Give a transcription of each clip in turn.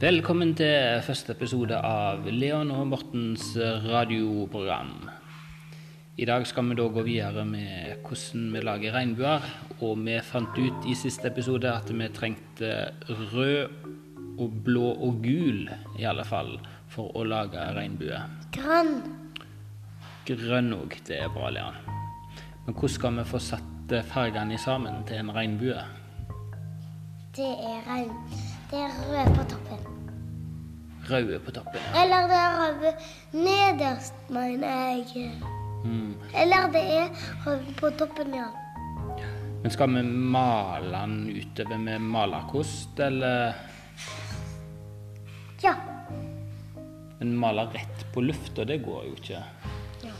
Velkommen til første episode av Leon og Mortens radioprogram. I dag skal vi da gå videre med hvordan vi lager regnbuer. Og vi fant ut i siste episode at vi trengte rød og blå og gul, i alle fall, for å lage regnbue. Grann. Grønn òg, det er bra, Leon. Men hvordan skal vi få satt eh, fargene sammen til en regnbue? Det er regn. Det er rød på toppen. Røde på toppen. Eller det er rød nederst, mener jeg. Mm. Eller det er rød på toppen, ja. Men skal vi male den utover med malerkost, eller Ja. Men male rett på lufta, det går jo ikke. Ja.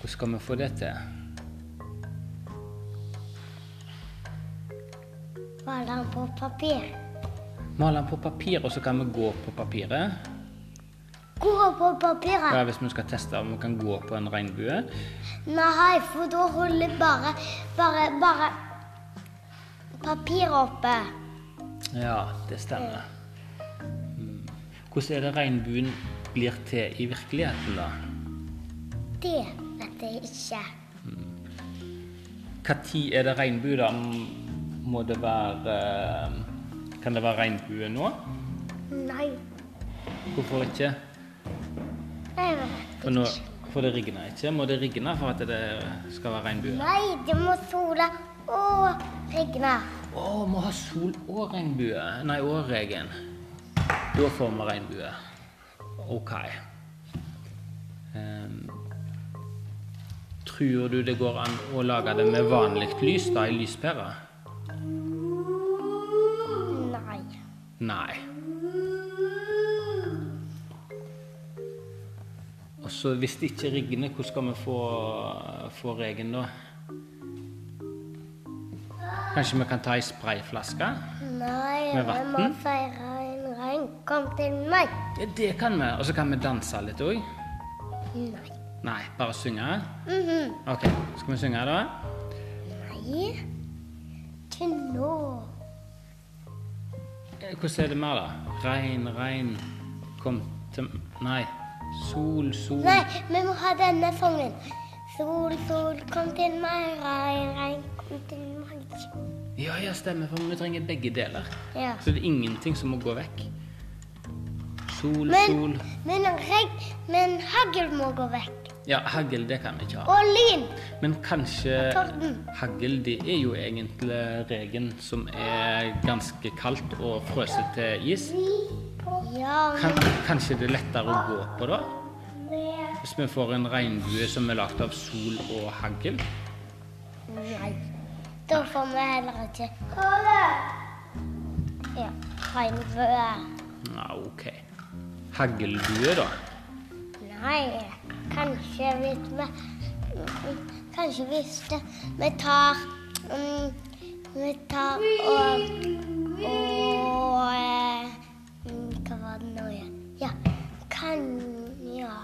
Hvordan skal vi få det til? Maler den på papir. Male den på papir, og så kan vi gå på papiret. Gå på papiret. Ja, hvis vi skal teste om vi kan gå på en regnbue. Nei, for da holder bare, bare, bare papiret oppe. Ja, det stemmer. Mm. Hvordan er det regnbuen blir til i virkeligheten, da? Det vet jeg ikke. Når er det regnbue, da? Må det være eh, Kan det være regnbue nå? Nei, Hvorfor ikke? jeg vet For, nå, ikke. for det regner ikke? Må det regne for at det skal være regnbue? Nei, det må sola og regne. Å, vi har sol og regnbue. Nei, og regen. Da får vi regnbue. OK. Ehm, tror du det går an å lage det med vanlig lys, da, i lyspæra? Nei. Nei. Og så hvis det ikke regner, hvordan skal vi få, få regen da? Kanskje vi kan ta ei sprayflaske? Nei, Med jeg må vatten? feire en regn. Kom til meg. Ja, det kan vi. Og så kan vi danse litt òg. Nei. Nei, bare synge. Mhm. OK, skal vi synge da? Nei. Til nå. Eh, Hvordan er det mer, da? Regn, regn, kom til Nei. Sol, sol Nei, vi må ha denne sangen. Sol, sol, kom til meg. Regn, regn, kom til meg. Ja, ja, stemmer, for vi trenger begge deler. Ja. Så det er ingenting som må gå vekk. Sol, sol Men, men regn, men hagl må gå vekk. Ja, hagl det kan vi ikke ha. Og lyn. Men kanskje Torden. hagl det er jo egentlig regen som er ganske kaldt og frøset til is. Ja, Kan, men kanskje det er lettere å gå på da? det Hvis vi får en regnbue som er lagd av sol og hagl? Nei. Da får vi heller ikke Kåre! Ja. Regnbue. Ja, OK. Haglbue, da? Nei, kanskje hvis vi Kanskje hvis det, vi tar mm, Vi tar og Og eh, mm, Hva var det nå igjen? Ja, kan Ja.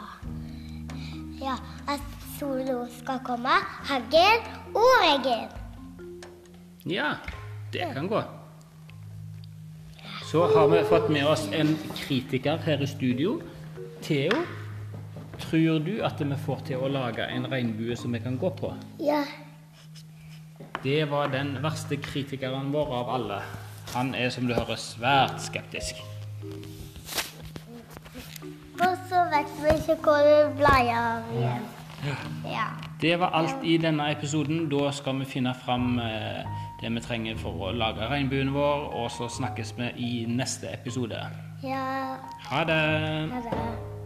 ja at solo skal komme. Hagl og regel. Ja, det kan gå. Så har vi fått med oss en kritiker her i studio. Theo, tror du at vi får til å lage en regnbue som vi kan gå på? Ja. Det var den verste kritikeren vår av alle. Han er, som du hører, svært skeptisk. Og så vet vi ikke hvor det blir av igjen. Ja. Det var alt i denne episoden. Da skal vi finne fram eh, det vi trenger for å lage regnbuen vår, og så snakkes vi i neste episode. Ja. Ha det! Ha det.